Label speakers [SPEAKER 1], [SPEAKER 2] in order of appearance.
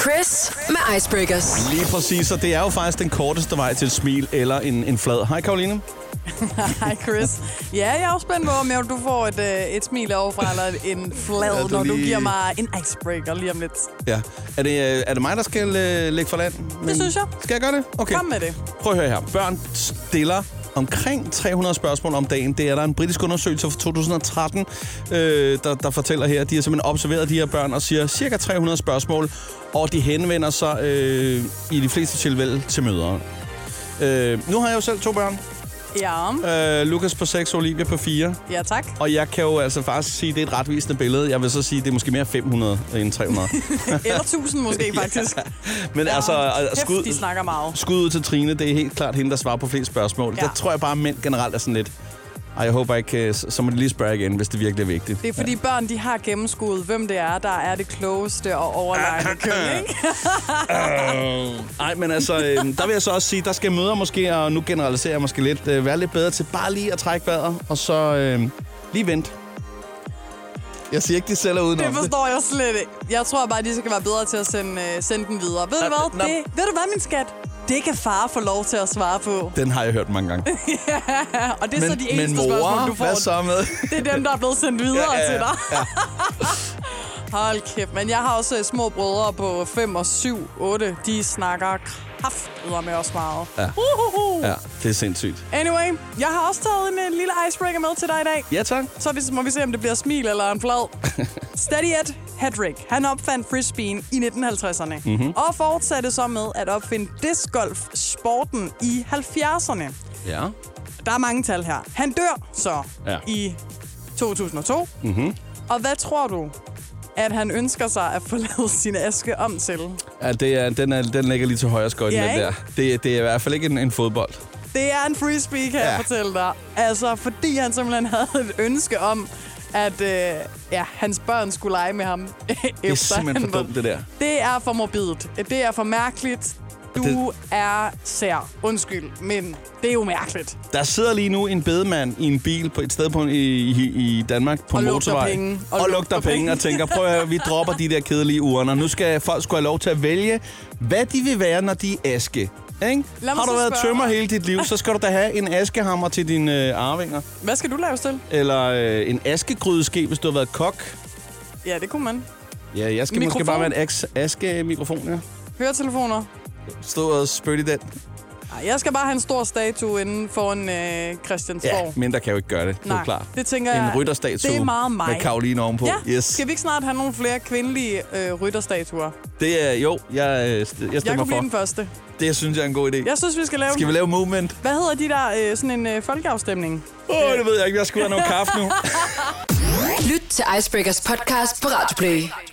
[SPEAKER 1] Chris med Icebreakers.
[SPEAKER 2] Lige præcis, og det er jo faktisk den korteste vej til et smil eller en, en flad. Hej Karoline.
[SPEAKER 3] Hej, Chris. Ja, jeg er også spændt på, om jeg- du får et, øh, et smil overfra, eller en flad,
[SPEAKER 2] Ja,
[SPEAKER 3] ja,
[SPEAKER 2] du
[SPEAKER 3] når du
[SPEAKER 2] lige-
[SPEAKER 3] giver mig en icebreaker lige om lidt.
[SPEAKER 2] Ja. Er det, øh, er det mig, der skal øh, lægge for land? Men,
[SPEAKER 3] synes jeg.
[SPEAKER 2] Skal jeg gøre det? Okay.
[SPEAKER 3] Kom med det.
[SPEAKER 2] Prøv at høre her. Børn stiller omkring 300 spørgsmål om dagen. Det er der en britisk undersøgelse fra 2013, øh, der, der fortæller her. De har simpelthen observeret de her børn og siger cirka 300 spørgsmål, og de henvender sig øh, i de fleste tilfælde til mødre. Øh, nu har jeg jo selv to børn.
[SPEAKER 3] Ja,
[SPEAKER 2] Øh, Lukas på 6, Olivia på 4.
[SPEAKER 3] ja tak.
[SPEAKER 2] Og jeg kan jo altså faktisk sige, at det er et retvisende billede. Jeg vil så sige, at det er måske mere 500 end 300.
[SPEAKER 3] Eller 1000 måske, faktisk.
[SPEAKER 2] Men ja, altså,
[SPEAKER 3] Ja,
[SPEAKER 2] øh,
[SPEAKER 3] kæft,
[SPEAKER 2] skud,
[SPEAKER 3] de snakker meget.
[SPEAKER 2] skud ud til Trine, det er helt klart hende, der svarer på flest spørgsmål. Ja.
[SPEAKER 3] Ja.
[SPEAKER 2] Der tror jeg bare, at mænd generelt er sådan lidt... Ej, jeg håber ikke, øh, så så må de lige spørge igen, hvis det virkelig er vigtigt.
[SPEAKER 3] Det er fordi børn, de har gennemskuet, hvem det er, der er det klogeste og overlegne køn, ikke?
[SPEAKER 2] Nej, men altså, øh, der vil jeg så også sige, der skal møder måske, og nu generaliserer jeg måske lidt, øh, være lidt bedre til bare lige at trække vejret, og så øh, lige vente. Jeg siger ikke, de sælger udenom
[SPEAKER 3] Det forstår jeg slet ikke. Jeg tror bare, de skal være bedre til at sende, øh, sende den videre. Ved du
[SPEAKER 2] Nå,
[SPEAKER 3] hvad?
[SPEAKER 2] nå.
[SPEAKER 3] Det, ved du hvad, min skat? Det kan far få lov til at svare på.
[SPEAKER 2] Den har jeg hørt mange gange.
[SPEAKER 3] Ja, og det er så de
[SPEAKER 2] men
[SPEAKER 3] eneste
[SPEAKER 2] mor,
[SPEAKER 3] spørgsmål, du får.
[SPEAKER 2] hvad så med?
[SPEAKER 3] Det er dem, der er blevet sendt videre
[SPEAKER 2] Ja, ja,
[SPEAKER 3] ja, ja, til dig. Ja. Hold kæft, men jeg har også øh, små brødre på 5 og 7, 8. De snakker kraftedeme også meget.
[SPEAKER 2] Ja.
[SPEAKER 3] Uhuhu.
[SPEAKER 2] ja, det er sindssygt.
[SPEAKER 3] Anyway, jeg har også taget en øh, lille icebreaker med til dig i dag.
[SPEAKER 2] Ja, tak.
[SPEAKER 3] Så vi- må vi se, om det bliver smil eller en flad. Steady Ed Hedrick, han opfandt frisbeen i 1950'erne.
[SPEAKER 2] Mhm.
[SPEAKER 3] Mm-hmm. Og fortsatte så med at opfinde discgolf-sporten i 70'erne.
[SPEAKER 2] Ja.
[SPEAKER 3] Der er mange tal her. Han dør så
[SPEAKER 2] Ja. Mhm.
[SPEAKER 3] ja. i 2002. Mm-hmm. Og hvad tror du, at han ønsker sig at få lavet sin aske om til?
[SPEAKER 2] ja det er, den, er, den ligger lige til højre skøjt,
[SPEAKER 3] Ja,
[SPEAKER 2] ja, den
[SPEAKER 3] ikke?
[SPEAKER 2] der. Det, det er i hvert fald ikke en, en fodbold.
[SPEAKER 3] Det er en frisbee, kan ja.
[SPEAKER 2] Ja.
[SPEAKER 3] jeg fortælle dig. Altså, fordi han simpelthen havde et ønske om, at øh, ja, hans børn skulle lege med ham.
[SPEAKER 2] Det er
[SPEAKER 3] efter
[SPEAKER 2] simpelthen
[SPEAKER 3] han
[SPEAKER 2] for
[SPEAKER 3] var-
[SPEAKER 2] dumt, det der.
[SPEAKER 3] Det er for morbidt. Det er for mærkeligt. Du
[SPEAKER 2] Det-
[SPEAKER 3] det... er sær. Undskyld, men det er jo mærkeligt.
[SPEAKER 2] Der sidder lige nu en bedemand i en bil på et sted på en, i, i, i Danmark på
[SPEAKER 3] Og
[SPEAKER 2] en
[SPEAKER 3] lugter
[SPEAKER 2] motorvej.
[SPEAKER 3] penge.
[SPEAKER 2] Og,
[SPEAKER 3] Og
[SPEAKER 2] og lugter
[SPEAKER 3] lugter
[SPEAKER 2] penge
[SPEAKER 3] penge.
[SPEAKER 2] og tænker, prøv at høre, vi dropper de der kedelige urner. Nu skal folk skulle have lov til at vælge, hvad de vil være, når de er aske. Ikke?
[SPEAKER 3] mig
[SPEAKER 2] Har du
[SPEAKER 3] så
[SPEAKER 2] været
[SPEAKER 3] spørge
[SPEAKER 2] tømmer
[SPEAKER 3] dig.
[SPEAKER 2] hele dit liv, så skal du da have en askehammer til dine øh, arvinger.
[SPEAKER 3] Hvad skal du lave til?
[SPEAKER 2] Eller øh, en askegrydeske, hvis du har været kok.
[SPEAKER 3] Ja, det kunne man.
[SPEAKER 2] Ja, jeg skal mikrofon. måske
[SPEAKER 3] Mikrofon.
[SPEAKER 2] bare være en aks- askemikrofon, ja.
[SPEAKER 3] Høretelefoner.
[SPEAKER 2] Stå og spytte i den.
[SPEAKER 3] Ej, Jeg skal bare have en stor statue inden foran øh, Christiansborg.
[SPEAKER 2] Ja, men der kan jo ikke gøre det. Det er
[SPEAKER 3] Nej,
[SPEAKER 2] jo klart.
[SPEAKER 3] det tænker
[SPEAKER 2] en
[SPEAKER 3] jeg-
[SPEAKER 2] rytterstatue
[SPEAKER 3] det er meget mig.
[SPEAKER 2] med Karoline ovenpå.
[SPEAKER 3] Ja,
[SPEAKER 2] Yes.
[SPEAKER 3] skal vi ikke snart have nogle flere kvindelige øh, rytterstatuer?
[SPEAKER 2] Det er, jo, jeg, øh, st- jeg
[SPEAKER 3] Jeg
[SPEAKER 2] stemmer
[SPEAKER 3] kunne blive den
[SPEAKER 2] for.
[SPEAKER 3] første.
[SPEAKER 2] Det synes jeg er en god idé.
[SPEAKER 3] Jeg synes, vi skal lave...
[SPEAKER 2] Skal vi lave movement?
[SPEAKER 3] Hvad hedder de der, øh, sådan en øh, folkeafstemning?
[SPEAKER 2] Åh, oh, det ved jeg ikke. Jeg skulle have noget kaffe nu.
[SPEAKER 1] Lyt til Icebreakers podcast på Radioplay.